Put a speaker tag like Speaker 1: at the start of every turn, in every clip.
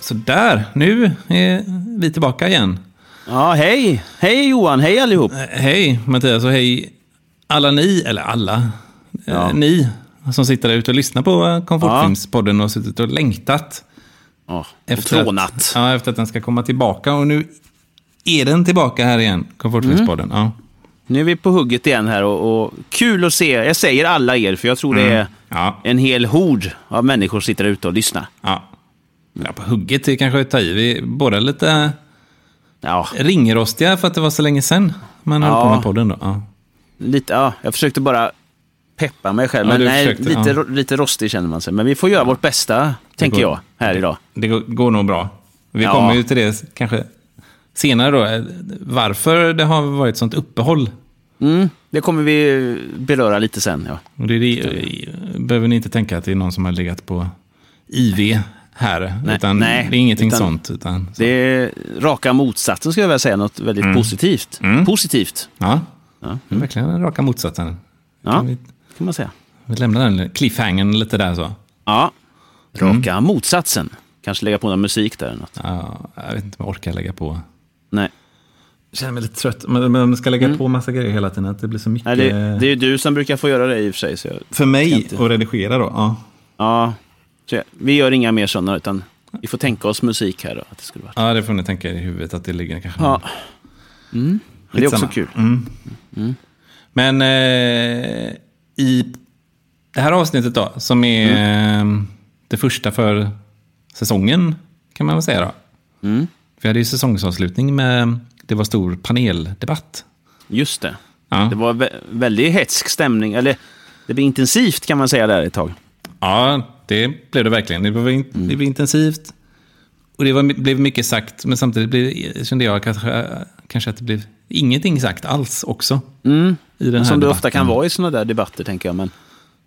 Speaker 1: Sådär, nu är vi tillbaka igen.
Speaker 2: Ja, hej! Hej Johan, hej allihop!
Speaker 1: Eh, Hej Mattias och hej alla ni, eller alla eh,
Speaker 2: Ja.
Speaker 1: ni som sitter där ute och lyssnar på eh, Komfortfilmspodden och har suttit och längtat.
Speaker 2: Ja, och
Speaker 1: Efter
Speaker 2: trånat.
Speaker 1: Att, ja, efter att den ska komma tillbaka. Och nu är den tillbaka här igen,
Speaker 2: Mm.
Speaker 1: Komfortfilmspodden. Ja.
Speaker 2: Nu är vi på hugget igen här och, och kul att se. Jag säger alla er, för jag tror det är
Speaker 1: Mm. Ja.
Speaker 2: en hel hord av människor som sitter där ute och lyssnar.
Speaker 1: Ja. ja, på hugget är kanske att ta i. Vi är båda lite
Speaker 2: Ja,
Speaker 1: ringrostiga för att det var så länge sedan man höll
Speaker 2: Ja.
Speaker 1: på med podden. Då. Ja.
Speaker 2: lite, ja, jag försökte bara peppa mig själv,
Speaker 1: Ja,
Speaker 2: men
Speaker 1: du
Speaker 2: nej,
Speaker 1: försökte,
Speaker 2: lite,
Speaker 1: ja.
Speaker 2: ro- lite rostig känner man sig. Men vi får göra vårt bästa, tänker
Speaker 1: går-
Speaker 2: jag, här idag.
Speaker 1: Det går- går nog bra. Vi
Speaker 2: Ja.
Speaker 1: kommer ju till det kanske senare då. eh, Varför det har varit sånt uppehåll.
Speaker 2: Mm, det kommer vi beröra lite sen. Ja.
Speaker 1: Och det, är det behöver ni inte tänka att det är någon som har legat på IV här.
Speaker 2: Nej,
Speaker 1: utan
Speaker 2: nej,
Speaker 1: det är ingenting
Speaker 2: utan-
Speaker 1: sånt. Utan,
Speaker 2: Det är raka motsatsen, skulle jag vilja säga, något väldigt
Speaker 1: Mm.
Speaker 2: positivt. Positivt,
Speaker 1: ja, Mm.
Speaker 2: Ja,
Speaker 1: det är verkligen den raka motsatsen.
Speaker 2: ja,
Speaker 1: Kan vi,
Speaker 2: kan man säga.
Speaker 1: vi lämnar den cliffhangern lite där så. Mm.
Speaker 2: Ja, raka motsatsen. Kanske lägga på någon musik där. eller Något.
Speaker 1: Ja, jag vet inte om jag orkar lägga på.
Speaker 2: Nej,
Speaker 1: Jag känner mig lite trött. Men men man ska lägga på massa grejer hela tiden. Att Mm. det blir så mycket.
Speaker 2: Nej det, det är ju du som brukar få göra det i och för sig. Så jag,
Speaker 1: För mig att redigera då. Ja.
Speaker 2: ja, så jag, vi gör inga mer sådana, utan vi får tänka oss musik här. Då, att det skulle vara.
Speaker 1: ja, det får ni tänka er i huvudet att det ligger kanske.
Speaker 2: Ja. Mm. Men det är också
Speaker 1: Skitsamma. Mm.
Speaker 2: kul.
Speaker 1: Men eh, i det här avsnittet då, som är
Speaker 2: Mm.
Speaker 1: eh, det första för säsongen, kan man väl säga då.
Speaker 2: Mm.
Speaker 1: Vi hade ju säsongsavslutning med, det var stor paneldebatt.
Speaker 2: Just det.
Speaker 1: Ja.
Speaker 2: Det var vä- väldigt hetsk stämning. Eller, det blev intensivt kan man säga där ett tag.
Speaker 1: Ja, det blev det verkligen. Det, var, in-
Speaker 2: Mm.
Speaker 1: det blev intensivt. Och det var, blev mycket sagt, men samtidigt blev, kände jag kanske, kanske att det blev ingenting sagt alls också. I den här
Speaker 2: Mm. Som det
Speaker 1: debatten.
Speaker 2: ofta kan vara i sådana där debatter, tänker jag. Men,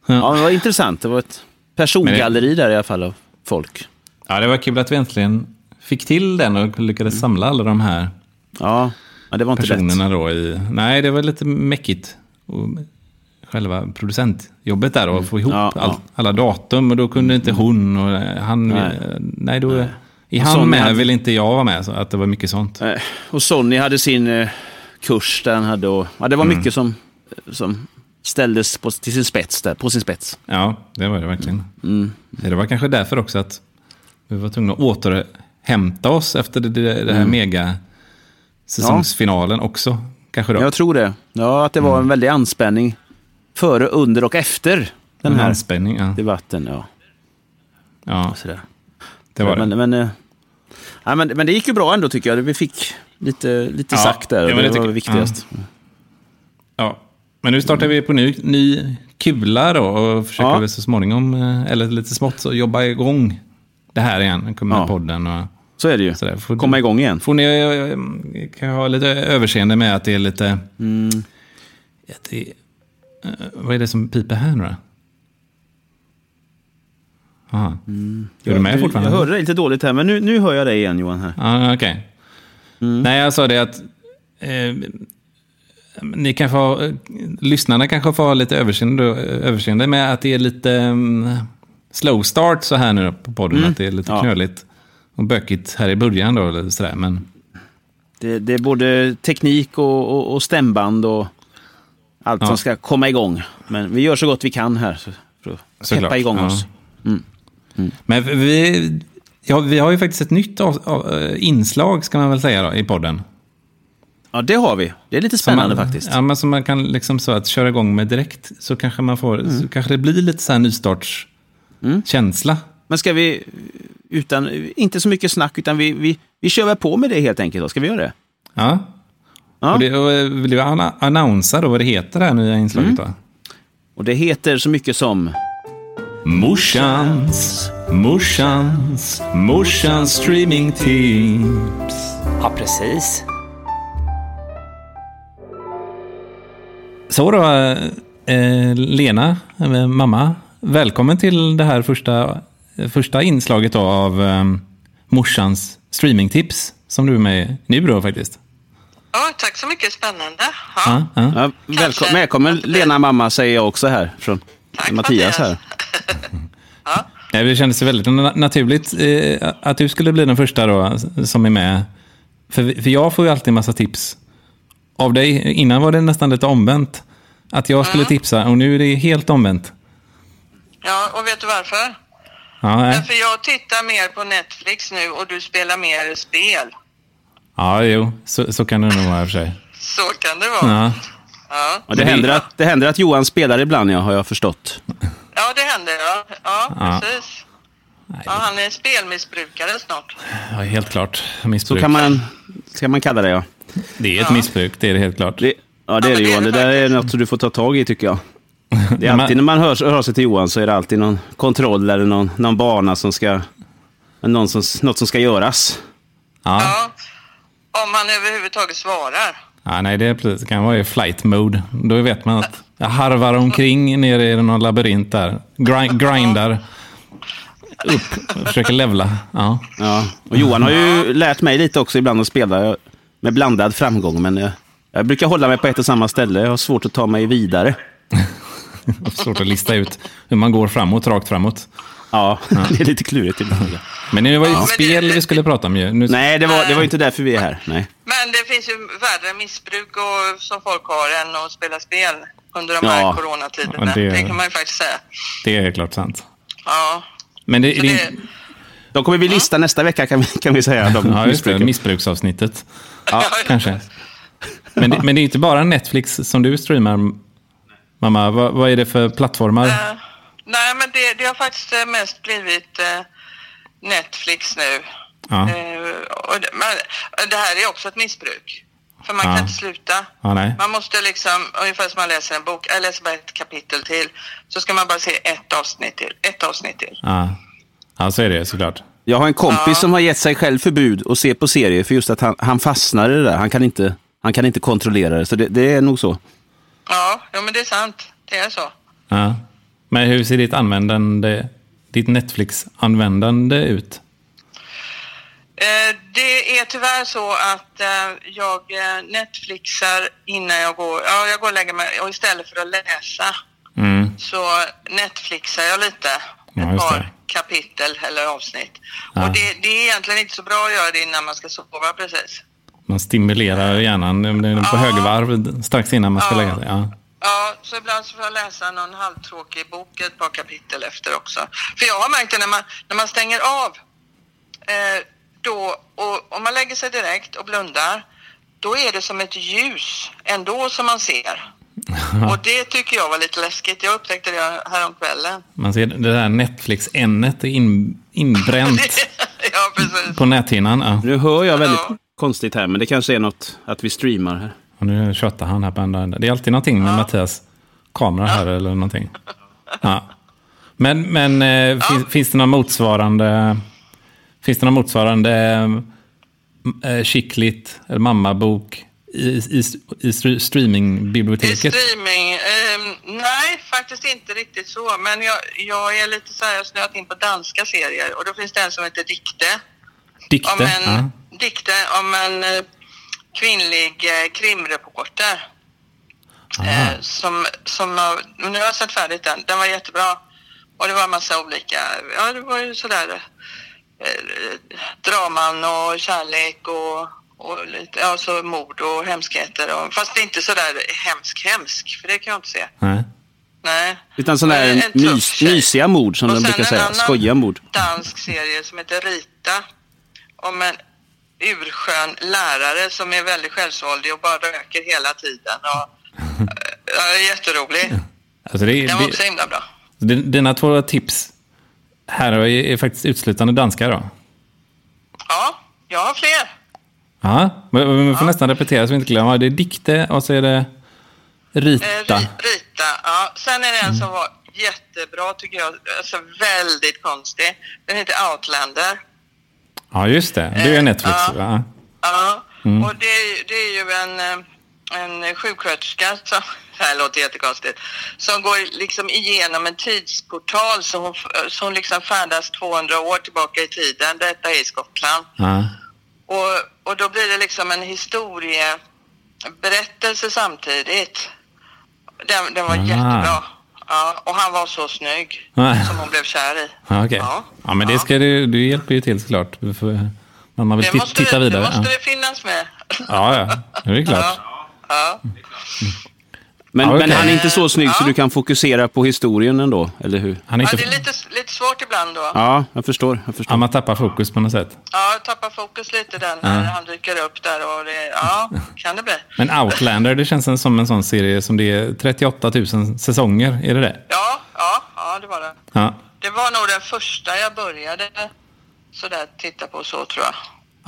Speaker 1: Ja.
Speaker 2: ja. men det var intressant. Det var ett persongalleri där i alla fall av folk.
Speaker 1: Ja, det var kul att vi äntligen fick till den och
Speaker 2: Mm.
Speaker 1: lyckades samla alla de här
Speaker 2: Ja, men det var inte lätt.
Speaker 1: personerna då i... Nej, det var lite mäckigt. Och själva producentjobbet där och få ihop
Speaker 2: Mm. Ja,
Speaker 1: all,
Speaker 2: ja.
Speaker 1: alla datum. Och då kunde inte hon och han... Nej,
Speaker 2: Nej.
Speaker 1: nej då... Är
Speaker 2: Och
Speaker 1: han
Speaker 2: Sonja
Speaker 1: med
Speaker 2: hade-
Speaker 1: vill inte jag vara med. Så att det var mycket sånt.
Speaker 2: Eh, Och Sonny hade sin eh, kurs där han hade och, ja, det
Speaker 1: Mm.
Speaker 2: var mycket som, eh, som ställdes på, till sin spets där, på sin spets.
Speaker 1: Ja, det var det verkligen.
Speaker 2: Mm.
Speaker 1: Det var kanske därför också att vi var tvungna att återhämta oss efter det, det, det
Speaker 2: Mm.
Speaker 1: här mega säsongsfinalen också. Kanske då.
Speaker 2: Jag tror det. Ja, att det
Speaker 1: Mm.
Speaker 2: var en väldig anspänning före, under och efter den
Speaker 1: En
Speaker 2: här
Speaker 1: anspänning. Ja.
Speaker 2: debatten. Ja,
Speaker 1: ja,
Speaker 2: sådär.
Speaker 1: det var det.
Speaker 2: men, men, eh, ja, men, men det gick ju bra ändå tycker jag. Vi fick lite, lite
Speaker 1: Ja,
Speaker 2: sagt där och
Speaker 1: ja, men
Speaker 2: det,
Speaker 1: det
Speaker 2: var
Speaker 1: tycker- Mm.
Speaker 2: viktigast.
Speaker 1: Ja, men nu startar vi på ny, ny kula då och försöker
Speaker 2: Ja.
Speaker 1: väl så småningom, eh, eller lite smått, så jobba igång det här igen. Kommer
Speaker 2: Ja.
Speaker 1: med podden och
Speaker 2: Så är det ju.
Speaker 1: sådär. Får,
Speaker 2: Komma igång igen.
Speaker 1: får ni eh, kan jag ha lite överseende med att det är lite...
Speaker 2: Mm.
Speaker 1: Att det, eh, vad är det som piper här nu då? Aha. Är du med fortfarande?
Speaker 2: Mm. Jag hörde dig lite dåligt här, men nu, nu hör jag dig igen Johan. Här.
Speaker 1: Ja, okej.
Speaker 2: Mm.
Speaker 1: Nej, jag sa det att eh, ni kan få, eh, lyssnarna kanske får ha lite överseende, då, eh, överseende med att det är lite mm, slow start så här nu då på podden. Att det är lite
Speaker 2: Mm. Ja.
Speaker 1: knöligt och bökigt här i början då. Eller sådär, men
Speaker 2: Det, det är både teknik och, och, och stämband och allt
Speaker 1: Ja.
Speaker 2: som ska komma igång. Men vi gör så gott vi kan här så- för att
Speaker 1: Såklart,
Speaker 2: peppa igång
Speaker 1: ja.
Speaker 2: oss.
Speaker 1: men vi, ja, vi har ju faktiskt ett nytt av, av, eh, inslag ska man väl säga då, i podden.
Speaker 2: Ja, det har vi. Det är lite
Speaker 1: Som
Speaker 2: spännande
Speaker 1: man,
Speaker 2: faktiskt.
Speaker 1: Ja, men som man kan liksom så att köra igång med direkt. Så kanske, man får,
Speaker 2: Mm.
Speaker 1: så kanske det blir lite så här nystartskänsla.
Speaker 2: Men ska vi, utan, inte så mycket snack, utan vi, vi, vi kör väl på med det helt enkelt. Då. Ska vi göra det?
Speaker 1: Ja.
Speaker 2: Ja.
Speaker 1: Och det, och eh, vill du anna- annonsa då vad det heter det här nya inslaget
Speaker 3: Mm.
Speaker 1: då?
Speaker 2: Och det heter så mycket som...
Speaker 1: Morsans, morsans, morsans streamingteam.
Speaker 3: Ja, precis.
Speaker 1: Så då, eh, Lena, eh, mamma, välkommen till det här första, eh, första inslaget då av eh, morsans streamingtips som du är med i nu då faktiskt.
Speaker 4: Ja, tack så mycket. Spännande. Ja,
Speaker 1: Ja, ja.
Speaker 2: Ja, välkom, välkommen Lena mamma säger jag också här från
Speaker 4: tack,
Speaker 2: Mattias här.
Speaker 1: Nej, det kändes väldigt na- naturligt eh, att du skulle bli den första då som är med. För, vi- för jag får ju alltid massa tips av dig. Innan var det nästan lite omvänt. Att jag skulle tipsa och nu är det helt omvänt.
Speaker 4: Ja, och vet du varför?
Speaker 1: Ja, nej.
Speaker 4: Därför jag tittar mer på Netflix nu och du spelar mer spel.
Speaker 1: ja jo, så, så kan det nog vara i och för sig.
Speaker 4: Så kan det vara.
Speaker 1: Ja.
Speaker 4: Ja,
Speaker 2: Ja, det,
Speaker 1: Men vi-
Speaker 2: händer att, det händer att Johan spelar ibland, ja, har jag förstått.
Speaker 4: ja det händer ja. Ja,
Speaker 1: Ja.
Speaker 4: precis. Ja, han är spelmissbrukare snart.
Speaker 1: Ja, helt klart.
Speaker 2: Så
Speaker 1: Missbruk.
Speaker 2: kan man, kan man kalla det, ja.
Speaker 1: Det är ett missbruk, det är det helt klart.
Speaker 2: Det, ja, det är
Speaker 4: men
Speaker 2: det
Speaker 4: det är
Speaker 2: Johan. Det
Speaker 4: det
Speaker 2: där är något som du får ta tag i, tycker jag. Det är
Speaker 1: Men-
Speaker 2: alltid när man hör, hör sig till Johan så är det alltid någon kontroll eller någon, någon bana som ska... Någon som, något som ska göras.
Speaker 1: Ja.
Speaker 4: Ja. Om han överhuvudtaget svarar.
Speaker 1: Ja, nej, det, är precis, det kan vara i flight mode. Då vet man att jag harvar omkring nere i någon labyrint där. Grind, grindar. Upp, försöker levla. Ja.
Speaker 2: Ja. Och Johan har ju lärt mig lite också ibland att spela med blandad framgång, men jag, jag brukar hålla mig på ett och samma ställe. Jag har svårt att ta mig vidare.
Speaker 1: Svårt att lista ut hur man går framåt, rakt framåt.
Speaker 2: Ja, det är lite klurigt ibland.
Speaker 1: Men det var ju ett
Speaker 4: men det-
Speaker 1: spel vi skulle prata om ju. Nu,
Speaker 2: Nej, det var, det var ju inte därför vi är här. Nej.
Speaker 4: Men det finns ju värre missbruk och, som folk har än att spela spel under de
Speaker 2: Ja.
Speaker 4: här coronatiderna.
Speaker 1: Ja, det-
Speaker 4: det... kan man ju faktiskt säga.
Speaker 1: Det är klart sant.
Speaker 4: Ja.
Speaker 1: Men det,
Speaker 4: Så
Speaker 1: det,
Speaker 4: det,
Speaker 2: De kommer vi lista nästa vecka, kan vi, kan vi säga.
Speaker 1: ja,
Speaker 2: De
Speaker 1: just det,
Speaker 2: missbruken.
Speaker 1: missbruksavsnittet. Kanske. Men det, men det är inte bara Netflix som du streamar, mamma. Vad, vad är det för plattformar?
Speaker 4: Eh, Nej, men det, det har faktiskt eh, mest blivit eh, Netflix nu.
Speaker 1: Ja.
Speaker 4: Eh, och det, men, eh, det här är också ett missbruk. För man
Speaker 1: Ja.
Speaker 4: kan inte sluta.
Speaker 1: Ja, nej.
Speaker 4: Man måste liksom, ungefär som man läser en bok, jag läser bara ett kapitel till. Så ska man bara se ett avsnitt till, ett avsnitt till.
Speaker 1: Ja. ja, så är det såklart.
Speaker 2: Jag har en kompis som har gett sig själv förbud att se på serier för just att han, han fastnar i det där. Han kan inte, han kan inte kontrollera det, så det, det är nog så.
Speaker 4: Ja, jo, men det är sant. Det är så.
Speaker 1: Ja. Men hur ser ditt användande, ditt Netflix-användande ut?
Speaker 4: Eh, det är tyvärr så att eh, jag eh, Netflixar innan jag går, ja, jag går och lägger mig och istället för att läsa
Speaker 1: Mm.
Speaker 4: så Netflixar jag lite.
Speaker 1: Ja,
Speaker 4: ett
Speaker 1: just
Speaker 4: par
Speaker 1: det.
Speaker 4: kapitel eller avsnitt.
Speaker 1: Ja.
Speaker 4: Och det, det är egentligen inte så bra att göra det innan man ska sova precis.
Speaker 1: Man stimulerar hjärnan den är på högvarv strax innan man ska lägga sig. Ja.
Speaker 4: Ja, så ibland så får jag läsa någon halvtråkig bok ett par kapitel efter också. För jag har märkt det när man, när man stänger av, eh, då, och om man lägger sig direkt och blundar, då är det som ett ljus ändå som man ser. Och det tycker jag var lite läskigt. Jag upptäckte det häromkvällen.
Speaker 1: Man ser det där Netflix-n-et är in, inbränt
Speaker 4: ja, precis.
Speaker 1: på näthinnan. Ja.
Speaker 2: Nu hör jag väldigt
Speaker 4: Ja.
Speaker 2: konstigt här, men det kanske är något att vi streamar här.
Speaker 1: Och nu tjötar han här på andra änden. Det är alltid någonting med Mattias kamera här eller någonting. Ja. Men, men eh, Finns, finns det någon motsvarande... Finns det någon motsvarande eh, eh, chicklit eller mammabok i, i, i str-
Speaker 4: I
Speaker 1: streamingbiblioteket?
Speaker 4: streaming? ehm, nej, faktiskt inte riktigt så. Men jag, jag är lite så här, jag har snöat in på danska serier och då finns det en som heter Dikte. om
Speaker 1: Dikter?
Speaker 4: en,
Speaker 1: Ja.
Speaker 4: dikter om en eh, kvinnlig eh, krimreporter. Eh, som, som har, men nu har jag sett färdigt den. Den var jättebra. Och det var en massa olika, ja det var ju sådär eh, draman och kärlek och, och lite, ja, så mord och hemskheter. Och, fast det är inte sådär hemsk hemsk, för det kan jag inte se.
Speaker 1: Nej.
Speaker 4: Nej.
Speaker 2: Utan sådana
Speaker 4: Eh,
Speaker 2: här
Speaker 4: en tuff
Speaker 2: mys,
Speaker 4: tjej.
Speaker 2: mysiga mord som
Speaker 4: Och
Speaker 2: de
Speaker 4: sen
Speaker 2: brukar
Speaker 4: en
Speaker 2: säga.
Speaker 4: annan
Speaker 2: Skojiga mord.
Speaker 4: dansk serie som heter Rita. Om en urskön lärare som är väldigt självsvåldig och bara röker hela tiden. Och, ja, jätterolig.
Speaker 1: Alltså det,
Speaker 4: Den var också
Speaker 1: det,
Speaker 4: himla bra.
Speaker 1: din- dina två tips här är, är faktiskt utslutande danska då.
Speaker 4: Ja, jag har fler.
Speaker 1: Ja, men men vi får nästan repetera så vi inte glömmer. Det är dikte och så är det
Speaker 4: Eh,
Speaker 1: rita.
Speaker 4: Ri- Rita, ja. Sen är det en som var jättebra tycker jag. Alltså väldigt konstig. Den heter Outlander.
Speaker 1: Ja, just det. Det är
Speaker 4: Eh,
Speaker 1: Netflix.
Speaker 4: ja.
Speaker 1: va?
Speaker 4: Ja,
Speaker 1: Mm.
Speaker 4: och det, är ju- det är ju en, eh, en sjuksköterska, som, det här låter jättekonstigt, som går liksom igenom en tidsportal som, hon, f- som liksom färdas 200 år tillbaka i tiden. Detta är i Skottland.
Speaker 1: Ja.
Speaker 4: Och, och då blir det liksom en historieberättelse samtidigt. Den, den var
Speaker 1: Ah.
Speaker 4: jättebra. Ja. Ja, och han var så snygg
Speaker 1: Nej.
Speaker 4: som hon blev kär i.
Speaker 1: Ja, Ah, okej.
Speaker 4: Ja.
Speaker 1: Ja, men det, ska, det, det hjälper ju till såklart. För, men man vill
Speaker 4: Det
Speaker 1: ti-
Speaker 4: måste,
Speaker 1: titta
Speaker 4: det,
Speaker 1: vidare.
Speaker 4: det måste
Speaker 1: ja.
Speaker 4: det finnas med.
Speaker 1: ja, ja. Det är klart.
Speaker 4: Ja. Ja.
Speaker 2: Men,
Speaker 1: Ja, okej.
Speaker 2: men han är inte så snygg så du kan fokusera på historien ändå, eller hur?
Speaker 1: Han är
Speaker 4: Ja,
Speaker 1: inte,
Speaker 4: det är lite, lite svårt ibland då.
Speaker 2: Ja, jag förstår. Jag förstår.
Speaker 1: ja, man tappar fokus på något sätt.
Speaker 4: Ja, tappar fokus lite där när han dyker upp där och det, ja, kan det bli.
Speaker 1: Men Outlander, det känns som en sån serie som det är 38 000 säsonger. Är det det?
Speaker 4: Ja, ja, ja, det var det.
Speaker 1: Ja,
Speaker 4: Det var nog den första jag började sådär titta på så tror jag.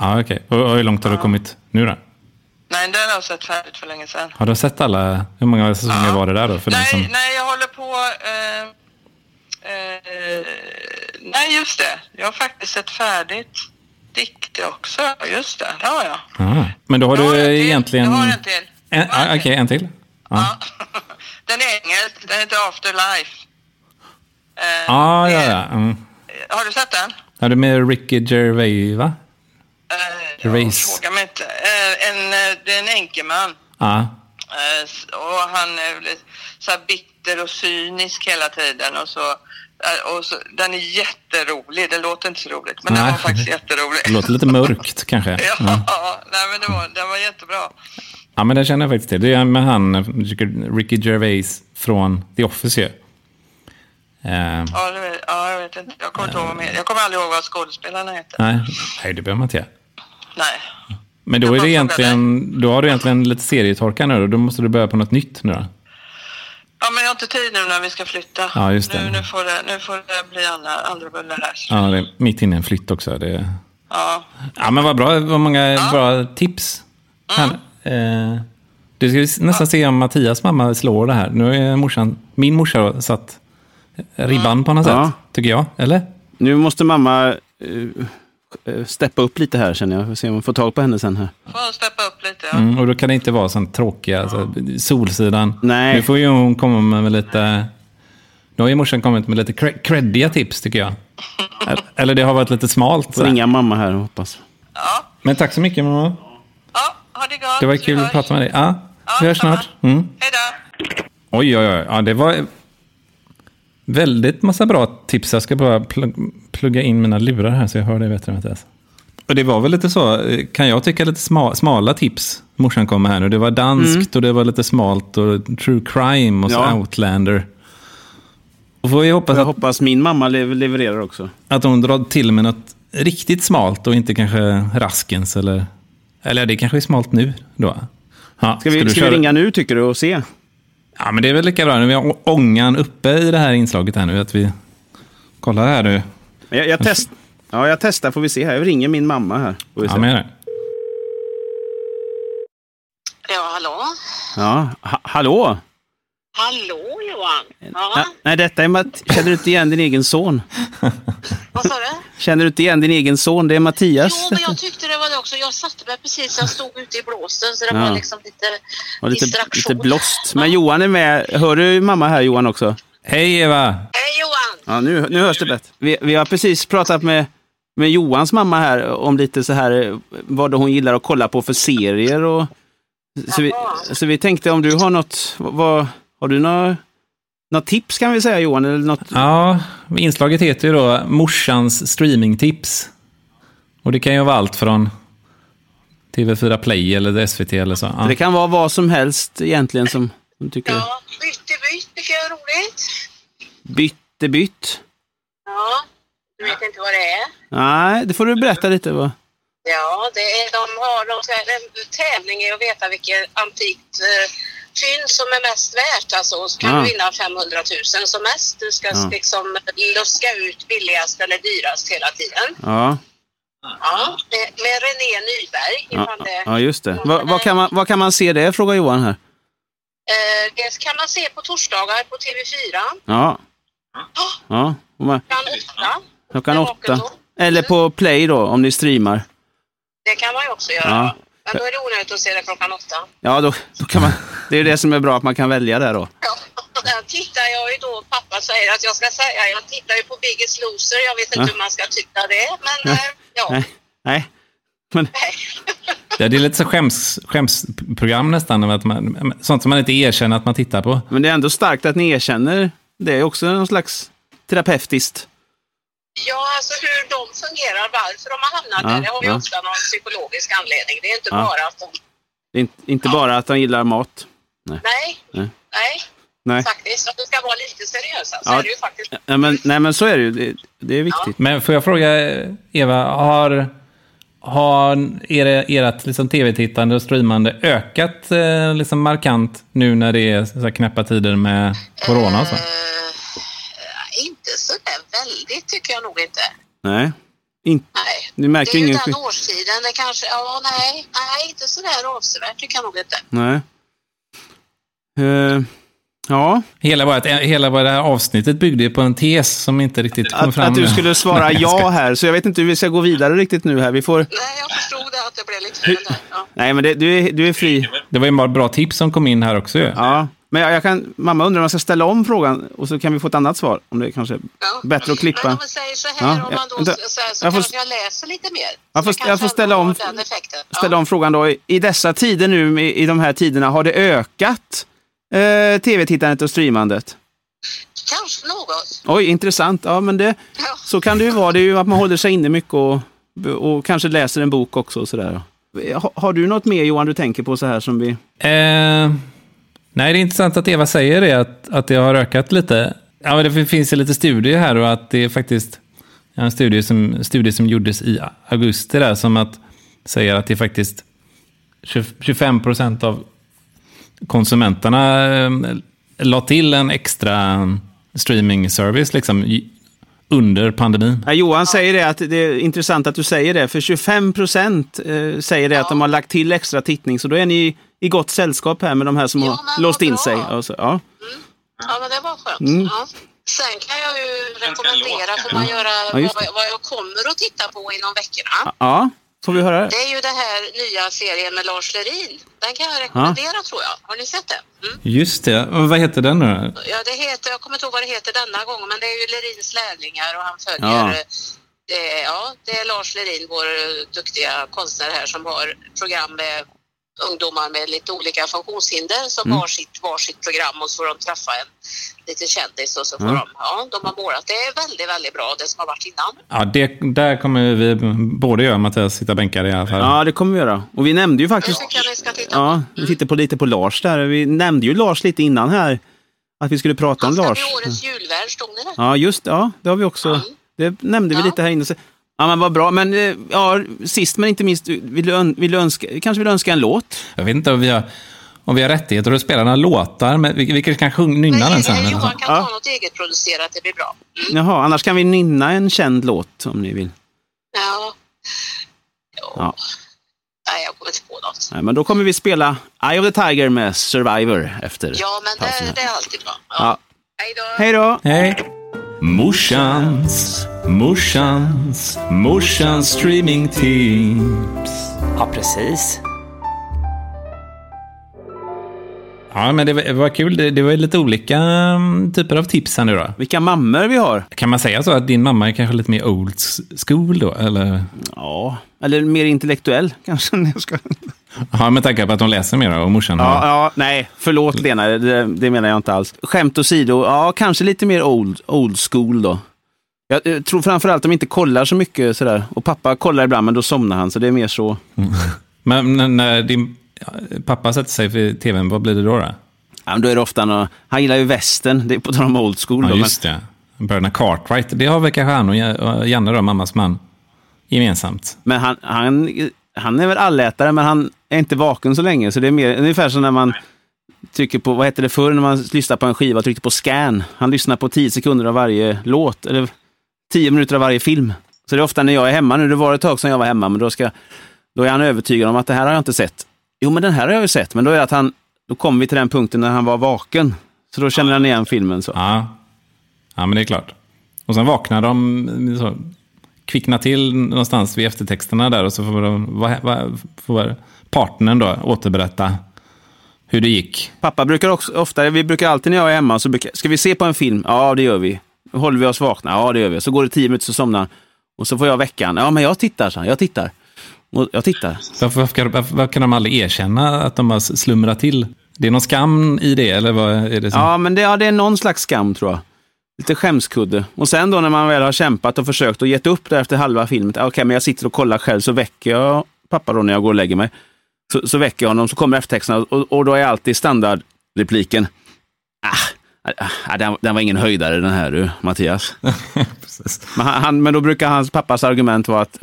Speaker 1: ja okej. Och, och hur långt har du kommit nu då?
Speaker 4: Nej, den har jag sett färdigt för länge sedan.
Speaker 1: Har du sett alla? Hur många säsonger var det där då? För den
Speaker 4: nej,
Speaker 1: som...
Speaker 4: nej, jag håller på... Eh, eh, nej, just det. Jag har faktiskt sett färdigt Dikte också. Just det, det har jag.
Speaker 1: Ja. Men då har
Speaker 4: Jag har
Speaker 1: du
Speaker 4: en till.
Speaker 1: egentligen...
Speaker 4: Jag har en till.
Speaker 1: En-
Speaker 4: Jag har en
Speaker 1: ja, Okej,
Speaker 4: till.
Speaker 1: en till. Ja,
Speaker 4: Ja. Den är engelsk. Den heter Afterlife. Eh,
Speaker 1: ja, ja.
Speaker 4: det-
Speaker 1: ja. Mm.
Speaker 4: Har du sett den?
Speaker 1: Är du med Ricky Gervais, va?
Speaker 4: Eh,
Speaker 1: Race.
Speaker 4: jag Fråga mig inte. Eh, en, eh, det är en änkeman.
Speaker 1: Ja.
Speaker 4: Eh, s- och han är väl så här bitter och cynisk hela tiden. Och så, eh, och så, den är jätterolig. Det låter inte så roligt, men den
Speaker 1: Nej.
Speaker 4: var faktiskt jätterolig.
Speaker 1: Det låter Mm. lite mörkt kanske.
Speaker 4: ja,
Speaker 1: Ja.
Speaker 4: nej, men det var, den var jättebra.
Speaker 1: Ja, men den känner jag faktiskt till. Det är med han, Ricky Gervais från The Office ju. Eh,
Speaker 4: Ja, det, vet- ja, jag vet inte. Jag kommer inte ihåg vad mer. Jag kommer aldrig ihåg vad skådespelarna heter.
Speaker 1: nej, nej, det behöver man inte göra.
Speaker 4: Nej.
Speaker 1: Men då,
Speaker 4: Jag
Speaker 1: är det
Speaker 4: bara
Speaker 1: egentligen, då har du egentligen lite serietorka nu då. Då måste du börja på något nytt nu då.
Speaker 4: Ja, men jag har inte tid nu när vi ska flytta.
Speaker 1: Ja, just det.
Speaker 4: Nu, nu, får, det, nu får det bli andra, andra bullar här.
Speaker 1: Ja, det är mitt inne i en flytt också. Det...
Speaker 4: Ja.
Speaker 1: Ja, men vad bra. Vad många bra tips. Här. Eh, du ska ju nästan se om Mattias mamma slår det här. Nu är morsan, min morsa har satt ribban på något
Speaker 2: Ja.
Speaker 1: sätt, tycker jag. Eller?
Speaker 2: Nu måste mamma eh, eh, steppa upp lite här känner jag. Får se om vi får tag på henne sen här.
Speaker 4: Får steppa upp lite. Ja.
Speaker 1: Mm, och då kan det inte vara sån tråkiga så, Solsidan.
Speaker 2: Nej.
Speaker 1: Nu får ju hon komma med lite... Nu har ju morsan kommit med lite cre- creddiga tips tycker jag. Eller- Eller det har varit lite smalt.
Speaker 2: Får
Speaker 1: sådär.
Speaker 2: ringa mamma här och hoppas.
Speaker 4: Ja.
Speaker 1: Men tack så mycket mamma.
Speaker 4: ja, ha det gott.
Speaker 1: Det var kul att prata med dig. Ja, vi hörs snart. Mm.
Speaker 4: Mm. Hej då.
Speaker 1: Oj, oj, oj. Ja, det var väldigt massa bra tips. Jag ska bara plug- plugga in mina lurar här så jag hör dig bättre, Mattias. Och det var väl lite så, eh, kan jag tycka, lite sma- smala tips morsan kom med här nu. Det var danskt och det var lite smalt och true crime och så
Speaker 2: Mm. Ja.
Speaker 1: outlander. Och får vi hoppas
Speaker 2: Jag
Speaker 1: att,
Speaker 2: hoppas min mamma lev- levererar också.
Speaker 1: att hon drar till med något riktigt smalt och inte kanske Raskens eller... Eller det kanske är smalt nu då. Ja,
Speaker 2: Ska vi, ska
Speaker 1: du
Speaker 2: vi
Speaker 1: köra-
Speaker 2: ringa nu tycker du och se?
Speaker 1: Ja, men det är väl lika bra. Nu har vi å- ångan uppe i det här inslaget här nu. Att vi kollar här nu.
Speaker 2: Men Jag, jag, test, ja, jag testar får vi se här. Jag ringer min mamma här. Får vi se.
Speaker 1: Ja, men,
Speaker 5: Ja, hallå?
Speaker 2: ja. Ha, hallå?
Speaker 5: Hallå Johan!
Speaker 2: Ja,
Speaker 5: Ja,
Speaker 2: nej, detta är Matt- Känner du inte igen din egen son?
Speaker 5: vad sa du?
Speaker 2: Känner du inte igen din egen son? Det är Mattias.
Speaker 5: Jo, men jag tyckte det var det också. Jag satte mig precis, jag stod ute i blåsten så det
Speaker 2: Ja.
Speaker 5: var liksom lite
Speaker 2: Och lite,
Speaker 5: distraktion.
Speaker 2: lite blåst. Men Johan är med. Hör du mamma här Johan också?
Speaker 1: hej Eva!
Speaker 5: Hej Johan!
Speaker 2: Ja, nu, nu hörs det bättre. Vi, vi har precis pratat med, med Johans mamma här om lite så här eh, vad hon gillar att kolla på för serier och så vi, så vi tänkte om du har något, vad, har du några, några tips kan vi säga Johan? Eller något?
Speaker 1: Ja, inslaget heter ju då Morsans streamingtips. Och det kan ju vara allt från TV4 Play eller SVT eller så. Ja.
Speaker 2: Det kan vara vad som helst egentligen som, som tycker
Speaker 5: Ja, bytte bytt tycker jag är roligt.
Speaker 2: bytt är bytt.
Speaker 5: Ja, du vet inte vad det är?
Speaker 2: Nej, det får du berätta lite. Vad.
Speaker 5: Ja, det är, de har de ska, en tävling i att veta vilket antikt eh, fynd som är mest värt. Alltså, och så kan
Speaker 2: Ja.
Speaker 5: du vinna 500 000 som mest. Du ska
Speaker 2: Ja.
Speaker 5: liksom luska ut billigast eller dyrast hela tiden.
Speaker 2: Ja,
Speaker 5: Ja, med, med René Nyberg.
Speaker 2: ja,
Speaker 5: ifall det.
Speaker 2: ja, just det. Vad, vad, kan man, vad kan man se det? Frågar Johan här.
Speaker 5: Eh, det kan man se på torsdagar på TV4.
Speaker 2: Ja, ja. och man-
Speaker 5: Klockan åtta.
Speaker 2: Klockan
Speaker 5: När vaken
Speaker 2: åtta.
Speaker 5: då? Mm.
Speaker 2: Eller på play då, om ni streamar.
Speaker 5: Det kan man ju också göra.
Speaker 2: Ja.
Speaker 5: Men då är det onödigt att se det klockan åtta.
Speaker 2: Ja, då, då kan man, det är ju det som är bra, att man kan välja där då.
Speaker 5: Ja, där tittar jag ju då. Pappa säger att jag ska säga, jag tittar ju på Biggest Loser. Jag vet inte
Speaker 2: Ja.
Speaker 5: hur man ska tycka det, men eh, ja.
Speaker 2: Nej, nej. Men,
Speaker 1: Ja, det är lite så skäms, skämsprogram nästan. Att man, sånt som man inte erkänner att man tittar på.
Speaker 2: men det är ändå starkt att ni erkänner Det är också någon slags terapeutiskt.
Speaker 5: Ja, alltså hur de fungerar, varför de har hamnat
Speaker 2: Ja,
Speaker 5: där, det har ju
Speaker 2: ja.
Speaker 5: ofta någon psykologisk anledning. Det är inte
Speaker 2: Ja.
Speaker 5: bara att de...
Speaker 2: Det är inte- inte bara att de gillar mat.
Speaker 5: Nej,
Speaker 2: Nej.
Speaker 5: nej,
Speaker 2: Nej,
Speaker 5: faktiskt. Om vi ska vara lite seriösa så
Speaker 2: Ja.
Speaker 5: är det ju faktiskt...
Speaker 2: nej, men, nej men så är det ju. Det, det är viktigt.
Speaker 1: Men får jag fråga eh, Eva, har, har era, ert liksom tv-tittande och streamande ökat eh, liksom markant nu när det är så här knäppa tider med corona och så?
Speaker 5: Eh, inte så där väldigt tycker jag nog inte.
Speaker 2: Nej. In,
Speaker 5: Nej.
Speaker 2: du märker
Speaker 5: det är ju
Speaker 2: ingen skill-
Speaker 5: den årstiden, det kanske... Ja, nej, nej, inte så där avsevärt tycker jag nog inte.
Speaker 2: Nej. Eh, ja,
Speaker 1: Hela, vårt, eh, hela vårt det här avsnittet byggde ju på en tes som inte riktigt kom
Speaker 2: att,
Speaker 1: fram.
Speaker 2: att
Speaker 1: nu.
Speaker 2: du skulle svara
Speaker 1: Nej, jag
Speaker 2: ja
Speaker 1: skojar.
Speaker 2: här. Så jag vet inte hur vi ska gå vidare riktigt nu här. Vi får...
Speaker 5: Nej, jag förstod det att det blev lite fel där. Ja.
Speaker 2: Nej, men det, du, är, du är fri.
Speaker 1: Det var ju bara bra tips som kom in här också ju.
Speaker 2: Ja. Men jag, jag kan, mamma undrar om jag ska ställa om frågan och så kan vi få ett annat svar. Om det kanske...
Speaker 5: Ja.
Speaker 2: Bättre att klippa.
Speaker 5: Men om man säger så här,
Speaker 2: Ja,
Speaker 5: om
Speaker 2: ja,
Speaker 5: man då
Speaker 2: vänta.
Speaker 5: så här, så
Speaker 2: Jag får-
Speaker 5: kanske jag läser lite mer.
Speaker 2: Jag får-
Speaker 5: Så kanske
Speaker 2: jag får ställa
Speaker 5: ändå
Speaker 2: om-
Speaker 5: har Den effekten.
Speaker 2: ställa
Speaker 5: ja.
Speaker 2: om frågan då. I- I dessa tider nu, i, i de här tiderna, har det ökat eh, tv-tittandet och streamandet?
Speaker 5: Kanske något.
Speaker 2: Oj, intressant. Ja, men det,
Speaker 5: Ja.
Speaker 2: så kan det ju vara. Det är ju att man håller sig inne mycket och, och kanske läser en bok också och sådär. Ha, har du något mer Johan du tänker på så här som vi...
Speaker 1: Eh, nej, det är intressant att Eva säger det, att, att det har ökat lite. Ja, men det finns ju lite studier här och att det är faktiskt ja, en studie som, studie som gjordes i augusti där, som att säger att det är faktiskt 20 25 procent av konsumenterna eh, la till en extra streaming service liksom, i- under pandemin.
Speaker 2: Nej, Johan säger det att det är intressant att du säger det, för 25 procent eh, säger det att de har lagt till extra tittning, så då är ni i gott sällskap här med de här som
Speaker 5: Ja, men
Speaker 2: har
Speaker 5: vad
Speaker 2: låst in
Speaker 5: bra.
Speaker 2: sig. Alltså, ja.
Speaker 5: Ja, men det var skönt.
Speaker 2: Mm.
Speaker 5: Ja. Sen kan jag ju rekommendera, får man göra
Speaker 2: Ja, just det.
Speaker 5: vad, vad jag kommer att titta på inom veckorna.
Speaker 2: ja, får vi höra det?
Speaker 5: Det är ju den här nya serien med Lars Lerin. Den kan jag rekommendera tror jag. Har ni sett den? Mm.
Speaker 1: Just det. Och Vad heter den nu då?
Speaker 5: Ja, det heter, jag kommer inte ihåg vad det heter denna gång, men det är ju Lerins lärlingar och han
Speaker 2: Ja.
Speaker 5: följer... eh, Det, är- ja, det är Lars Lerin, vår eh, duktiga konstnär här, som har program med ungdomar med lite olika funktionshinder som
Speaker 2: Mm.
Speaker 5: har sitt varsitt program och så får de träffa en liten kändis och så får
Speaker 2: Mm.
Speaker 5: de, ja, de har målat. Det är väldigt, väldigt bra det som har varit innan.
Speaker 1: Ja, det, där kommer vi både jag och Mattias sitta bänkade i alla fall.
Speaker 2: Ja, det kommer vi göra. Och vi nämnde ju
Speaker 5: Det
Speaker 2: faktiskt...
Speaker 5: tycker jag ni ska titta på.
Speaker 2: Ja, vi tittar på lite på Lars där. Vi nämnde ju Lars lite innan här. Att vi skulle prata
Speaker 5: Han
Speaker 2: om
Speaker 5: ska
Speaker 2: Lars.
Speaker 5: bli årets julvärd, stod ni det?
Speaker 2: Ja, just det. Ja, det har vi också. Det nämnde vi
Speaker 5: Ja.
Speaker 2: lite här inne. Så- Ja, men vad bra. Men eh, ja, sist men inte minst, vill du, ön- vill du önska, kanske vill du önska en låt?
Speaker 1: Jag vet inte om vi har, om vi har rättigheter att spela några låtar, men vi, vi kanske kan sjung, nynna den sen.
Speaker 5: Nej,
Speaker 1: eller något
Speaker 5: Johan
Speaker 1: sånt.
Speaker 5: kan
Speaker 2: Ja.
Speaker 5: ta något eget producerat, det blir bra.
Speaker 2: Jaha, annars kan vi nynna en känd låt om ni vill.
Speaker 5: Ja. Jo.
Speaker 2: Ja.
Speaker 5: Nej, jag kommer inte på något.
Speaker 2: Nej, men då kommer vi spela Eye of the Tiger med Survivor efter
Speaker 5: Ja, men
Speaker 2: pausen här.
Speaker 5: det, det är alltid bra. Ja.
Speaker 2: Ja.
Speaker 5: Hej då!
Speaker 2: Hej då!
Speaker 1: Hej! Morsans, morsans, morsans streamingtips.
Speaker 3: Ja, precis.
Speaker 1: Ja, men det var, det var kul. Det, det var ju lite olika mm, typer av tips här nu då.
Speaker 2: Vilka mammor vi har!
Speaker 1: Kan man säga så att din mamma är kanske lite mer old school då? Eller?
Speaker 2: Ja, eller mer intellektuell kanske. Nej, jag skojar.
Speaker 1: Ja, med tanke på att hon läser mer då, och morsan har...
Speaker 2: Ja, ja, nej, förlåt Lena, det, det menar jag inte alls. Skämt åsido, ja, kanske lite mer old, old school då. Jag eh, tror framförallt de inte kollar så mycket sådär. Och pappa kollar ibland, men då somnar han, så det är mer så.
Speaker 1: Men när- när din ja, pappa sätter sig vid tvn, vad blir det då? då?
Speaker 2: Ja, men då är det ofta någon, han gillar ju västern, det är på tal om old school.
Speaker 1: Ja,
Speaker 2: då,
Speaker 1: just det. Bröderna Cartwright. Det har väl kanske han och Ja- och Janne, då, mammas man, gemensamt.
Speaker 2: Men, men han, han, han är väl allätare, men han är inte vaken så länge. Så det är mer, ungefär som när man trycker på, vad hette det förr, när man lyssnade på en skiva och tryckte på scan. Han lyssnar på 10 sekunder av varje låt, eller 10 minuter av varje film. Så det är ofta när jag är hemma nu, det var ett tag sedan jag var hemma, men då, ska, då är han övertygad om att det här har jag inte sett. Jo, men den här har jag ju sett, men då är det att han, då kommer vi till den punkten när han var vaken. Så då känner han igen filmen. Så.
Speaker 1: Ja. ja, men det är klart. Och sen vaknar de, så, kvicknar till någonstans vid eftertexterna där och så får, de, vad, vad, får partnern då återberätta hur det gick.
Speaker 2: Pappa brukar också, ofta, vi brukar alltid när jag är hemma, så brukar, ska vi se på en film? Ja, det gör vi. Håller vi oss vakna? Ja, det gör vi. Så går det tio minuter så somnar han. Och så får jag veckan. Ja, men jag tittar, så jag tittar. Och jag tittar.
Speaker 1: Varför, varför, kan- varför, varför kan de aldrig erkänna att de har slumrat till? Det är någon skam i det, eller vad är det som...
Speaker 2: Ja, men det, ja, det är någon slags skam tror jag. Lite skämskudde. Och sen då när man väl har kämpat och försökt och gett upp där efter halva filmen. Okej, men jag sitter och kollar själv så väcker jag pappa då när jag går och lägger mig. Så, så väcker jag honom, så kommer eftertexterna och, och då är alltid standardrepliken. Ah, ah, ah, den, den var ingen höjdare den här du, Mattias.
Speaker 1: Precis.
Speaker 2: Men, han- han, men då brukar hans pappas argument vara att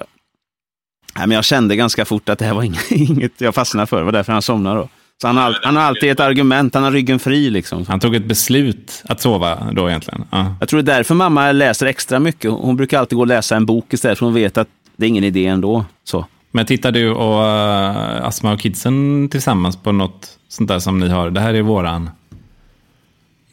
Speaker 2: Nej, men jag kände ganska fort att det här var inget, inget jag fastnade för. Det var därför han somnade då. Så han, har all, han har alltid ett argument, han har ryggen fri liksom.
Speaker 1: Han tog ett beslut att sova då egentligen. Ja.
Speaker 2: Jag tror det är därför mamma läser extra mycket. Hon brukar alltid gå och läsa en bok istället för hon vet att det är ingen idé ändå. Så.
Speaker 1: Men tittar du och eh, Asma och kidsen tillsammans på något sånt där som ni har? Det här är våran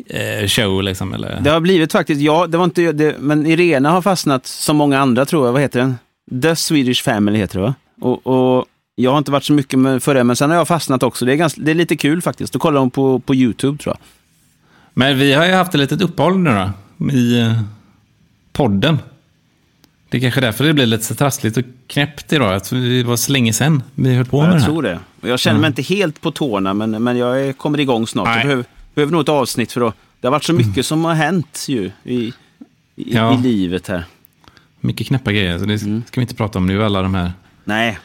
Speaker 1: eh, show liksom, eller?
Speaker 2: Det har blivit faktiskt, ja, det var inte, det, men Irena har fastnat som många andra tror jag. Vad heter den? The Swedish Family heter det va? Och, och jag har inte varit så mycket med, för det, men sen har jag fastnat också. Det är, ganska, det är lite kul faktiskt. Då kollar hon på, på YouTube tror jag.
Speaker 1: Men vi har ju haft ett litet uppehåll nu då, i eh, podden. Det är kanske därför det blir lite så trassligt och knäppt idag. Att vi- det var så länge sedan vi höll på med
Speaker 2: Jag
Speaker 1: det här.
Speaker 2: tror det. Och Jag känner mig inte helt på tårna, men, men jag är- kommer igång snart.
Speaker 1: Nej. Mm.
Speaker 2: Jag behöver, behöver nog ett avsnitt för att det har varit så mycket som har hänt ju i, i,
Speaker 1: Ja.
Speaker 2: i livet här.
Speaker 1: Mycket knäppa grejer, så det
Speaker 2: Mm.
Speaker 1: ska vi inte prata om nu. Alla de här,
Speaker 2: Nej.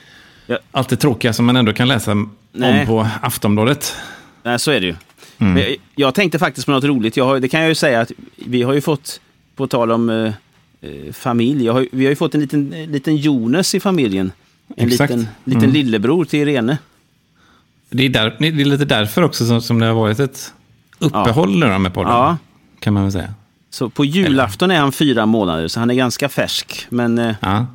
Speaker 2: Ja,
Speaker 1: allt det tråkiga som man ändå kan läsa om
Speaker 2: Nej.
Speaker 1: på Aftonbladet.
Speaker 2: nej, så är det ju.
Speaker 1: Mm.
Speaker 2: Men jag, jag tänkte faktiskt på något roligt. Jag har, det kan jag ju säga att vi har ju fått, på tal om eh, eh, familj, jag har, ju- vi har ju fått en liten, eh, liten Jonas i familjen. En
Speaker 1: Exakt.
Speaker 2: liten, liten
Speaker 1: Mm.
Speaker 2: lillebror till Irene.
Speaker 1: Det är, där, det är lite därför också som, som det har varit ett uppehåll nu då med podden.
Speaker 2: Ja.
Speaker 1: Kan man väl säga.
Speaker 2: Så på julafton är han fyra månader, så han är ganska färsk. Men eh,
Speaker 1: Ja,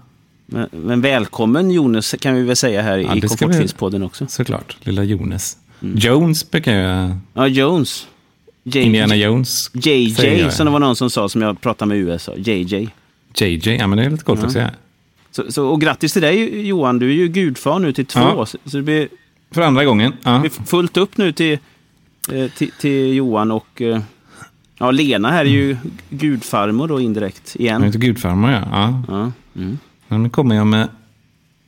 Speaker 2: Men, men välkommen Jonas kan vi väl säga här
Speaker 1: Ja,
Speaker 2: i
Speaker 1: det ska vi-
Speaker 2: Komfortfilmspodden också.
Speaker 1: såklart. Lilla Jones.
Speaker 2: Mm.
Speaker 1: Jones brukar jag...
Speaker 2: Ja, Jones. J-
Speaker 1: Indiana Jones. säger
Speaker 2: JJ
Speaker 1: jag.
Speaker 2: som det var någon som sa som jag pratade med i USA. JJ.
Speaker 1: JJ. Ja, men det är lite coolt också. Ja.
Speaker 2: Så, så, och grattis till dig Johan, du är ju gudfar nu till två.
Speaker 1: Ja.
Speaker 2: Så så det blir,
Speaker 1: För andra gången. Ja.
Speaker 2: blir fullt upp nu till, eh, till, till Johan och eh, ja, Lena här är ju
Speaker 1: Mm.
Speaker 2: gudfarmor då indirekt
Speaker 1: Han
Speaker 2: igen.
Speaker 1: heter gudfarmor, ja. ja.
Speaker 2: Ja, mm.
Speaker 1: Men Nu kommer jag med,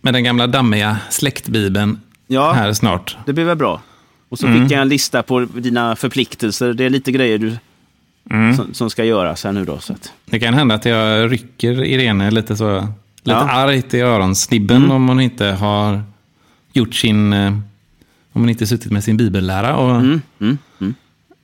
Speaker 1: med den gamla dammiga släktbibeln
Speaker 2: Ja.
Speaker 1: här Mm. snart.
Speaker 2: det blir väl bra. Och så fick jag en lista på dina förpliktelser. Det är lite grejer du,
Speaker 1: Mm.
Speaker 2: som, som ska göras här nu då. Så att.
Speaker 1: Det kan hända att jag rycker Irene lite så... Lite
Speaker 2: Ja. Mm.
Speaker 1: argt i öronsnibben om hon inte har gjort sin... eh, Om hon inte suttit med sin bibellära. Och,
Speaker 2: Ja, men